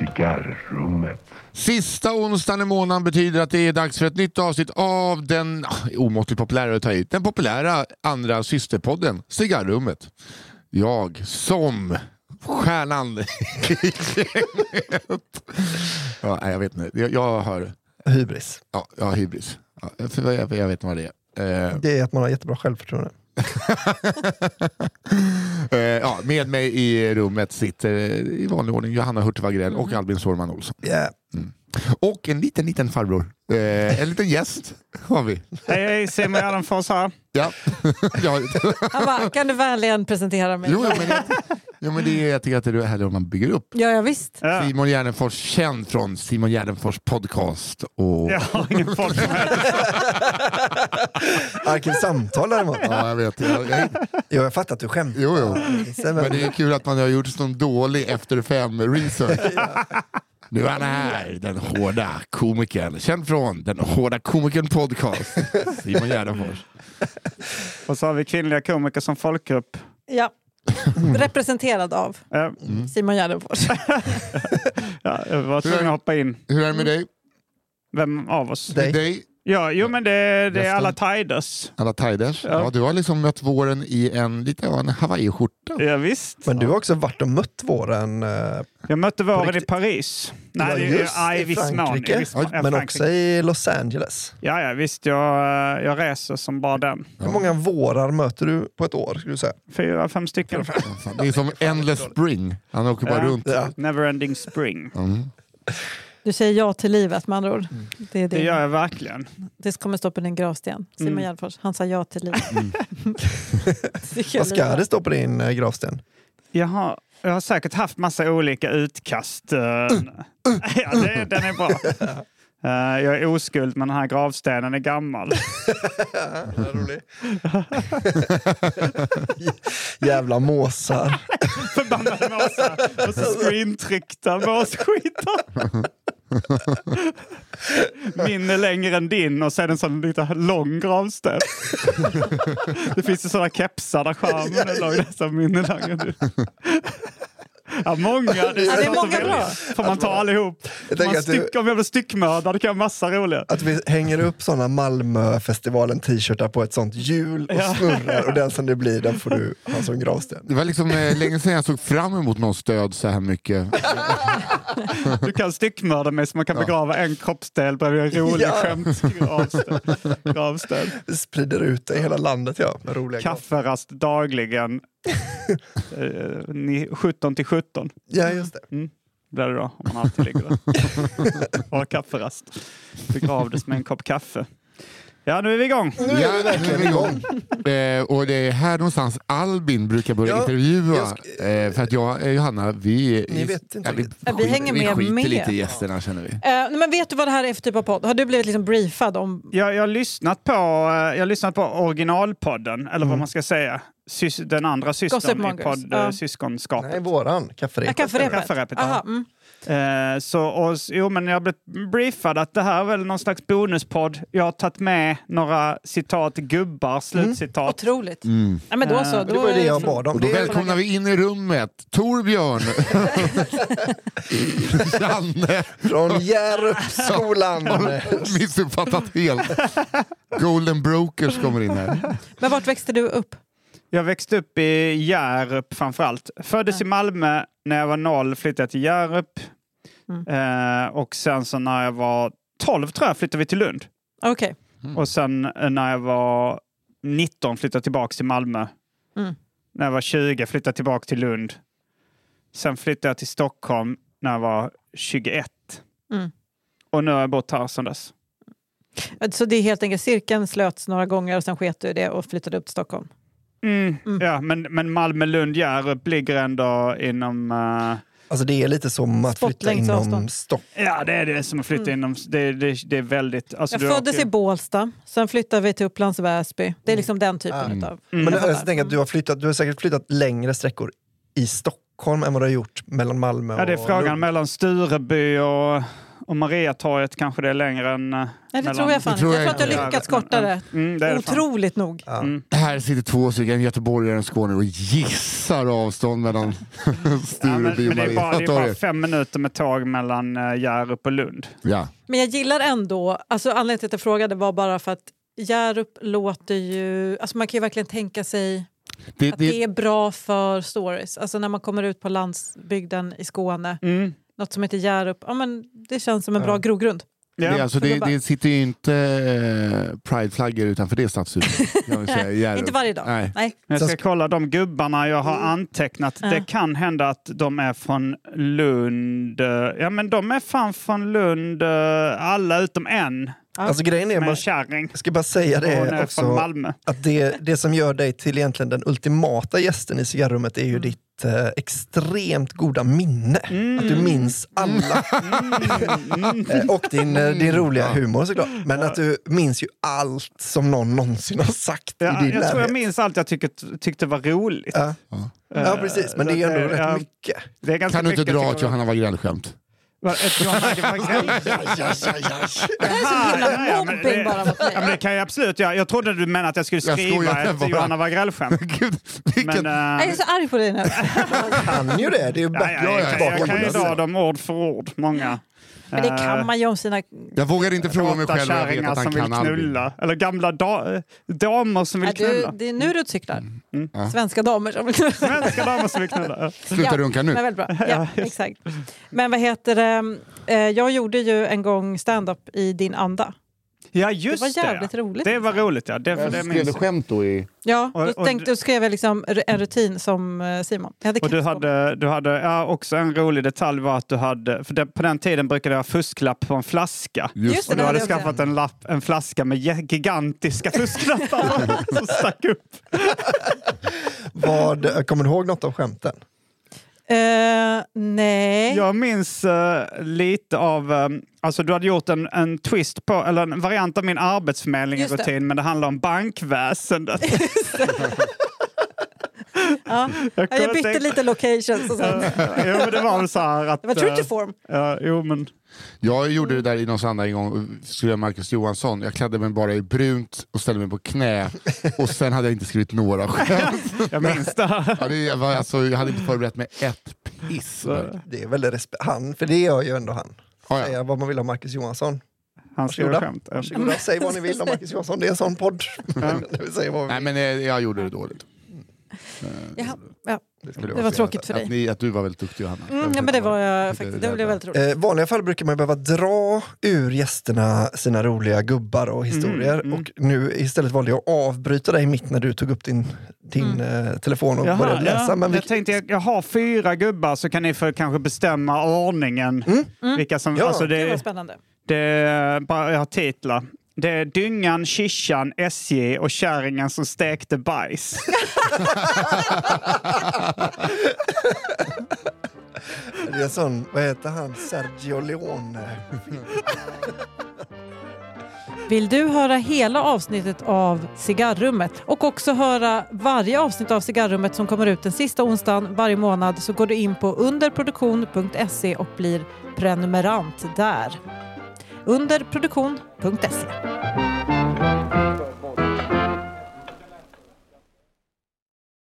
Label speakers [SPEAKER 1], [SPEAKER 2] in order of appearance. [SPEAKER 1] Cigarrummet.
[SPEAKER 2] Sista onsdagen i månaden betyder att det är dags för ett nytt avsnitt av den ah, omåttligt populära att ta hit, den populära andra systerpodden Cigarrummet. Jag som stjärnan i gänget. ja, nej, Jag vet inte, jag, jag har
[SPEAKER 3] Hybris.
[SPEAKER 2] ja, jag har hybris. Ja, jag, för jag, jag vet inte vad det är. Eh,
[SPEAKER 3] Det är att man har jättebra självförtroende.
[SPEAKER 2] eh, ja, med mig i rummet sitter eh, i vanlig ordning Johanna Hurtig Wagrell och Albin Sårman Olsson.
[SPEAKER 3] Yeah.
[SPEAKER 2] Och en liten, liten farbror. Eh, en liten gäst har vi.
[SPEAKER 4] Hej, hej, Simon Gärdenfors här.
[SPEAKER 2] Ja. ja.
[SPEAKER 5] Han bara, kan du vänligen presentera mig?
[SPEAKER 2] Jo, jo, men, jag, jo, men det är, jag tycker att det är härligt om man bygger upp.
[SPEAKER 5] Ja, ja visst.
[SPEAKER 4] Ja.
[SPEAKER 2] Simon Gärdenfors, känd från Simon Gärdenfors podcast. Och...
[SPEAKER 4] Jag har ingen folk som heter
[SPEAKER 3] Arkivsamtal däremot.
[SPEAKER 2] Ja, jag vet. Jag, jag,
[SPEAKER 3] Jo, jag fattar att du skämtar.
[SPEAKER 2] jo, jo.
[SPEAKER 3] Lisa,
[SPEAKER 2] Men
[SPEAKER 3] Men
[SPEAKER 2] det är kul att man har gjort sån dålig efter fem-research. Nu är han här, den hårda komikern. Känd från Den hårda komikern podcast. Simon Gärdenfors.
[SPEAKER 4] Och så har vi kvinnliga komiker som folkgrupp.
[SPEAKER 5] Ja. Representerad av
[SPEAKER 4] Eh,
[SPEAKER 3] Mm.
[SPEAKER 5] Simon Gärdenfors.
[SPEAKER 4] Ja, jag var tvungen att hoppa in.
[SPEAKER 2] Hur är det med dig?
[SPEAKER 4] Vem av oss?
[SPEAKER 3] Dig.
[SPEAKER 2] Med dig?
[SPEAKER 4] Ja, jo, men det, det är alla tiders.
[SPEAKER 2] Alla tiders. Ja.
[SPEAKER 4] Ja.
[SPEAKER 2] du har liksom mött våren i en, lite, ja, en hawaiiskjorta.
[SPEAKER 4] Ja, visst.
[SPEAKER 3] Men du har också varit och mött våren, eh,
[SPEAKER 4] Jag mötte våren i
[SPEAKER 3] riktigt.
[SPEAKER 4] Paris.
[SPEAKER 3] Ja,
[SPEAKER 4] Nej,
[SPEAKER 3] just
[SPEAKER 4] ja, i
[SPEAKER 3] i
[SPEAKER 4] viss mån.
[SPEAKER 3] Frankrike.
[SPEAKER 4] I viss mån. Ja,
[SPEAKER 3] men
[SPEAKER 4] Frankrike.
[SPEAKER 3] också i Los Angeles.
[SPEAKER 4] Ja, ja, visst. Jag, eh, jag reser som bara den.
[SPEAKER 2] Ja.
[SPEAKER 3] Hur många vårar möter du på ett år? Skulle du säga?
[SPEAKER 4] Fyra, fem stycken.
[SPEAKER 2] Fan, Det är som Endless Spring. Han åker bara
[SPEAKER 4] Ja.
[SPEAKER 2] runt.
[SPEAKER 3] Ja.
[SPEAKER 4] Neverending spring.
[SPEAKER 2] Mm.
[SPEAKER 5] Du säger ja till livet med andra ord.
[SPEAKER 3] Mm.
[SPEAKER 5] Det, är
[SPEAKER 4] Det
[SPEAKER 5] det.
[SPEAKER 4] gör jag verkligen.
[SPEAKER 5] det kommer stå på din gravsten. Simon
[SPEAKER 4] Mm.
[SPEAKER 5] Gärdenfors, han sa ja till livet. Det är
[SPEAKER 3] Mm. Vad ska
[SPEAKER 5] livet.
[SPEAKER 3] det stå på din eh, gravsten?
[SPEAKER 4] Jag har, jag har säkert haft massa olika utkast. eh, ja, det, den är bra. Eh, jag är oskuld men den här gravstenen är gammal.
[SPEAKER 3] Jävla måsar.
[SPEAKER 4] Förbannade måsar. Och så screentryckta måsskitar. Min är längre än din och sen en sån lite lång gravsten. Det finns ju sådana kepsar där skärmen är lång. Nästan min är längre än din. Ja, många. Det
[SPEAKER 5] Ja, det är
[SPEAKER 4] svårt att
[SPEAKER 5] många
[SPEAKER 4] välja.
[SPEAKER 5] bra.
[SPEAKER 4] Får man ta allihop?
[SPEAKER 3] Jag
[SPEAKER 4] Om
[SPEAKER 3] tänker
[SPEAKER 4] Man
[SPEAKER 3] att du,
[SPEAKER 4] styck, om jag blir styckmördad kan jag ha massa roliga.
[SPEAKER 3] att vi hänger upp sådana Malmöfestivalen-t-shirtar på ett sånt hjul och snurrar och den som det blir den får du ha som gravsten.
[SPEAKER 2] Det var liksom eh, länge sedan jag såg fram emot någon stöd så här mycket.
[SPEAKER 4] Du kan styckmörda mig så man kan begrava en kroppsdel bredvid en rolig
[SPEAKER 3] Ja.
[SPEAKER 4] skämtgravsten. Gravsten.
[SPEAKER 3] Vi sprider ut det i hela landet ja, med roliga grav-
[SPEAKER 4] Kafferast dagligen. Eh, ni- 17 till 17
[SPEAKER 3] Ja, just det.
[SPEAKER 4] blir det då, om man alltid ligger där. Har kafferast. Begravdes med en kopp kaffe. Ja, nu är vi igång.
[SPEAKER 3] Nu är vi verkligen igång.
[SPEAKER 2] Eh, och det är här någonstans Albin brukar börja
[SPEAKER 3] Ja,
[SPEAKER 2] intervjua.
[SPEAKER 3] jag sk-
[SPEAKER 2] eh, för att jag och Johanna, vi...
[SPEAKER 3] Ni vet inte
[SPEAKER 2] vi,
[SPEAKER 3] riktigt.
[SPEAKER 5] Ja, vi
[SPEAKER 2] skiter-
[SPEAKER 5] hänger med
[SPEAKER 2] Vi skiter
[SPEAKER 5] mer.
[SPEAKER 2] lite i gästerna känner vi.
[SPEAKER 5] Eh, nej, men vet du vad det här är för typ av podd? Har du blivit liksom briefad om...
[SPEAKER 4] Jag, jag, har lyssnat på, eh, jag har lyssnat på originalpodden, eller vad man ska säga. Sys, den andra systern i
[SPEAKER 5] Mongers,
[SPEAKER 4] podd,
[SPEAKER 5] ja.
[SPEAKER 4] uh. syskonskapet.
[SPEAKER 3] Nej, våran.
[SPEAKER 5] Ja,
[SPEAKER 3] Kafferep.
[SPEAKER 5] kafferepet?
[SPEAKER 4] Kafferepet, ja.
[SPEAKER 5] Aha, mm.
[SPEAKER 4] Eh, så, och, s- jo, men jag har blivit briefad att det här är väl någon slags bonuspodd. Jag har tagit med några citat, gubbar, slutcitat.
[SPEAKER 5] Otroligt. Ja, men då
[SPEAKER 4] Eh,
[SPEAKER 5] så.
[SPEAKER 3] Mm. Det
[SPEAKER 5] Då liksom-
[SPEAKER 3] var ju det jag bad
[SPEAKER 2] Och
[SPEAKER 3] om.
[SPEAKER 2] då
[SPEAKER 3] Det är-
[SPEAKER 2] välkomnar vi in i rummet Torbjörn. Janne.
[SPEAKER 3] Från Järupsskolan.
[SPEAKER 2] Missuppfattat helt. Golden Brokers kommer in här.
[SPEAKER 5] Men vart växte du upp?
[SPEAKER 4] Jag växte upp i Hjärup framförallt. Föddes i Malmö när jag var noll, flyttade jag till Hjärup.
[SPEAKER 5] Mm.
[SPEAKER 4] Eh, och sen så när jag var 12 tror jag flyttade vi till Lund.
[SPEAKER 5] Okej.
[SPEAKER 4] Och sen eh, när jag var 19 flyttade tillbaka till Malmö.
[SPEAKER 5] Mm.
[SPEAKER 4] När jag var 20 flyttade tillbaka till Lund. Sen flyttade jag till Stockholm när jag var 21.
[SPEAKER 5] Mm.
[SPEAKER 4] Och nu har jag bott här sedan dess.
[SPEAKER 5] Så det är helt enkelt cirkeln slöts några gånger och sen sket du i det och flyttade upp till Stockholm?
[SPEAKER 4] Mm. Ja, men, men Malmö, Lund, Hjärup ligger ändå inom... eh,
[SPEAKER 3] Alltså det är lite som att flytta
[SPEAKER 5] Spottlängds
[SPEAKER 3] inom
[SPEAKER 5] avstånd.
[SPEAKER 3] Stock.
[SPEAKER 4] ja, det är det som att flytta inom... Det, det, det är väldigt... Alltså,
[SPEAKER 5] Mm. Jag
[SPEAKER 4] du
[SPEAKER 5] föddes
[SPEAKER 4] åker-
[SPEAKER 5] i Bålsta, sen flyttade vi till Upplands Väsby. Det är liksom den typen
[SPEAKER 2] Mm.
[SPEAKER 5] av...
[SPEAKER 3] Men alltså,
[SPEAKER 5] Jag
[SPEAKER 3] jag,
[SPEAKER 5] fattar.
[SPEAKER 3] jag tänker att du har, flyttat, du har säkert flyttat längre sträckor i Stockholm än vad du har gjort mellan Malmö och
[SPEAKER 4] Ja, det är frågan
[SPEAKER 3] Lund.
[SPEAKER 4] mellan Stureby och, Och Mariatorget kanske det är längre än... Nej,
[SPEAKER 5] Nej, det tror jag fan
[SPEAKER 2] Det tror
[SPEAKER 5] inte. Jag
[SPEAKER 2] jag
[SPEAKER 5] tror att jag
[SPEAKER 2] inte.
[SPEAKER 5] lyckats korta det.
[SPEAKER 4] Mm, det är det fan.
[SPEAKER 5] Otroligt nog.
[SPEAKER 2] Här sitter två stycken göteborgare och en skåning och gissar avstånd mellan
[SPEAKER 4] Ja, men,
[SPEAKER 2] Stureby
[SPEAKER 4] men
[SPEAKER 2] och
[SPEAKER 4] det, är bara, det är bara
[SPEAKER 2] Mariatorget.
[SPEAKER 4] fem minuter med tåg mellan eh, Hjärup och Lund.
[SPEAKER 2] Ja.
[SPEAKER 5] Men jag gillar ändå, alltså anledningen till att jag frågade var bara för att Hjärup låter ju, alltså man kan ju verkligen tänka sig
[SPEAKER 2] Det,
[SPEAKER 5] att det
[SPEAKER 2] det,
[SPEAKER 5] är bra för stories. Alltså när man kommer ut på landsbygden i Skåne,
[SPEAKER 4] Mm.
[SPEAKER 5] något som heter Hjärup, ja men det känns som en bra
[SPEAKER 3] Ja.
[SPEAKER 5] grogrund.
[SPEAKER 2] det,
[SPEAKER 4] Ja.
[SPEAKER 2] är alltså, det, det sitter ju inte eh, prideflaggor utanför det stadshuset. kan vi säga, i Hjärup.
[SPEAKER 5] Inte varje dag.
[SPEAKER 2] Nej.
[SPEAKER 4] Jag ska kolla de gubbarna jag har antecknat.
[SPEAKER 5] Mm. Ja.
[SPEAKER 4] Det kan hända att de är från Lund. eh, Ja men de är fan från Lund, eh, alla utom en.
[SPEAKER 3] Alltså grejen är,
[SPEAKER 4] Med en
[SPEAKER 3] man
[SPEAKER 4] kärring.
[SPEAKER 3] jag ska bara säga
[SPEAKER 4] Hon
[SPEAKER 3] det
[SPEAKER 4] är från
[SPEAKER 3] också,
[SPEAKER 4] Malmö.
[SPEAKER 3] att det, det som gör dig till egentligen den ultimata gästen i cigarrummet är ju
[SPEAKER 4] Mm.
[SPEAKER 3] ditt eh, extremt goda minne. Att du minns alla.
[SPEAKER 4] Mm.
[SPEAKER 3] Eh, Och din, eh, din roliga humor såklart. Men att du minns ju allt som någon någonsin har sagt i din
[SPEAKER 4] Ja, jag
[SPEAKER 3] närhet.
[SPEAKER 4] tror jag minns allt jag tyckte, tyckte var roligt.
[SPEAKER 3] Ja. ja, precis. Men det är ju ändå
[SPEAKER 4] Eh, ja.
[SPEAKER 3] rätt mycket.
[SPEAKER 4] Det är ganska
[SPEAKER 2] Kan du inte
[SPEAKER 4] mycket,
[SPEAKER 2] dra
[SPEAKER 4] tycker
[SPEAKER 2] ett
[SPEAKER 4] jag.
[SPEAKER 2] Johanna Wagrell-skämt?
[SPEAKER 4] Va, ett Johanna Wagrell?
[SPEAKER 5] Det här är så
[SPEAKER 4] Ja, ja,
[SPEAKER 5] himla
[SPEAKER 4] ja, men det-
[SPEAKER 5] mobbing bara mot
[SPEAKER 4] Ja, men det
[SPEAKER 5] mig.
[SPEAKER 4] kan jag absolut göra. Jag trodde du menade att jag skulle
[SPEAKER 2] Jag
[SPEAKER 4] skriva
[SPEAKER 2] skojar
[SPEAKER 4] ett
[SPEAKER 2] bara.
[SPEAKER 4] Johanna Wagrell-skämt.
[SPEAKER 2] Gud, vilken...
[SPEAKER 4] Men, eh,
[SPEAKER 5] Jag är så arg på dig nu.
[SPEAKER 3] kan ju det. Det är ju
[SPEAKER 4] Ja,
[SPEAKER 3] back
[SPEAKER 4] ja, jag,
[SPEAKER 3] tillbaka
[SPEAKER 4] kan- jag kan ju
[SPEAKER 3] på
[SPEAKER 4] dra
[SPEAKER 3] den.
[SPEAKER 4] dem ord för ord, många. Eh,
[SPEAKER 5] Men det kan man ju om sina...
[SPEAKER 2] jag vågar inte fråga mig
[SPEAKER 4] Åtta
[SPEAKER 2] själv och jag vet
[SPEAKER 4] kärringar
[SPEAKER 2] att han
[SPEAKER 4] som
[SPEAKER 2] kan
[SPEAKER 4] vill
[SPEAKER 2] Albin.
[SPEAKER 4] knulla. Eller gamla da- damer som
[SPEAKER 5] Ja,
[SPEAKER 4] vill
[SPEAKER 5] du,
[SPEAKER 4] knulla. Mm.
[SPEAKER 5] det är nu du cyklar. Svenska damer som vill knulla.
[SPEAKER 4] Svenska damer som vill knulla.
[SPEAKER 2] Sluta
[SPEAKER 5] Ja,
[SPEAKER 2] runka nu.
[SPEAKER 5] Men väldigt bra. Ja, exakt. Men vad heter det? Eh, Jag gjorde ju en gång stand-up i din anda.
[SPEAKER 4] Ja, just
[SPEAKER 5] Det var jävligt roligt. liksom.
[SPEAKER 4] Det var roligt, ja. Det, det minns jag.
[SPEAKER 2] skämt då i...
[SPEAKER 5] Ja,
[SPEAKER 4] Och-
[SPEAKER 5] då,
[SPEAKER 4] och
[SPEAKER 5] tänkte,
[SPEAKER 4] du-
[SPEAKER 5] då skrev jag liksom r- en rutin som eh, Simon. Jag hade
[SPEAKER 4] Och du
[SPEAKER 5] keps på mig.
[SPEAKER 4] hade, du hade ja, också en rolig detalj var att du hade, för det, på den tiden brukade jag ha fusklapp på en flaska.
[SPEAKER 5] Just
[SPEAKER 4] Och
[SPEAKER 5] det,
[SPEAKER 4] du hade
[SPEAKER 5] jag också.
[SPEAKER 4] skaffat en, lapp, en flaska med jä- gigantiska fusklappar som stack upp.
[SPEAKER 3] Vad, kommer du ihåg något av skämten?
[SPEAKER 5] Eh, nej.
[SPEAKER 4] Jag minns eh, lite av, eh, alltså du hade gjort en, en twist på, eller en variant av min
[SPEAKER 5] Just
[SPEAKER 4] arbetsförmedling-rutin,
[SPEAKER 5] det.
[SPEAKER 4] men det handlar om bankväsendet.
[SPEAKER 5] Ja.
[SPEAKER 4] Jag
[SPEAKER 5] Ja, jag
[SPEAKER 4] kunde
[SPEAKER 5] bytte
[SPEAKER 4] tänka-
[SPEAKER 5] lite locations och sånt.
[SPEAKER 4] jo, men det var väl så här att...
[SPEAKER 5] Det var true to
[SPEAKER 4] eh,
[SPEAKER 5] form.
[SPEAKER 4] Ja, jo, men...
[SPEAKER 2] Jag gjorde det där i någon annan en gång, skulle jag Marcus Johansson. Jag klädde mig bara i brunt och ställde mig på knä och sen hade jag inte skrivit några skämt.
[SPEAKER 4] Jag minns det här.
[SPEAKER 2] Ja, det- jag var- Alltså, jag hade inte förberett mig ett piss. Ja,
[SPEAKER 3] Det är väl respe- han, för det gör ju ändå han.
[SPEAKER 2] ja.
[SPEAKER 3] Säga vad man vill om Marcus Johansson.
[SPEAKER 4] Han skrev
[SPEAKER 3] Varsågoda.
[SPEAKER 4] skämt. Ja.
[SPEAKER 3] Varsågoda, säg vad ni vill om Marcus Johansson. Det är en sån podd. Vi säger vad vi
[SPEAKER 2] Nej,
[SPEAKER 3] vill.
[SPEAKER 2] men eh, jag gjorde det dåligt. Eh,
[SPEAKER 5] Ja, ja.
[SPEAKER 3] skulle
[SPEAKER 5] Det
[SPEAKER 3] vara
[SPEAKER 5] var
[SPEAKER 3] fel.
[SPEAKER 5] tråkigt för
[SPEAKER 2] Att,
[SPEAKER 5] dig.
[SPEAKER 2] ni, att du var väldigt duktig Johanna.
[SPEAKER 5] Mm, ja, men det var jag faktiskt. Det blev väldigt roligt.
[SPEAKER 3] Eh, vanliga fall brukar man behöva dra ur gästerna sina roliga gubbar och historier. Och nu istället valde jag att avbryta dig mitt när du tog upp din, din
[SPEAKER 5] Mm.
[SPEAKER 3] eh, telefon och började läsa.
[SPEAKER 4] ja.
[SPEAKER 3] men vi,
[SPEAKER 4] Jag tänkte jag, jag har fyra gubbar så kan ni för, kanske bestämma ordningen.
[SPEAKER 5] Mm.
[SPEAKER 4] Vilka som,
[SPEAKER 3] Mm. Ja.
[SPEAKER 4] alltså
[SPEAKER 5] Det var
[SPEAKER 4] det,
[SPEAKER 5] spännande.
[SPEAKER 4] det, är bara jag har titlar. Det är Dyngan, Kishan, SJ och Kärringen som stekte bajs.
[SPEAKER 3] det är en sån, vad heter han, Sergio Leone.
[SPEAKER 5] Vill du höra hela avsnittet av Cigarrummet och också höra varje avsnitt av Cigarrummet som kommer ut den sista onsdagen varje månad så går du in på underproduktion.se och blir prenumerant där. Underproduktion.se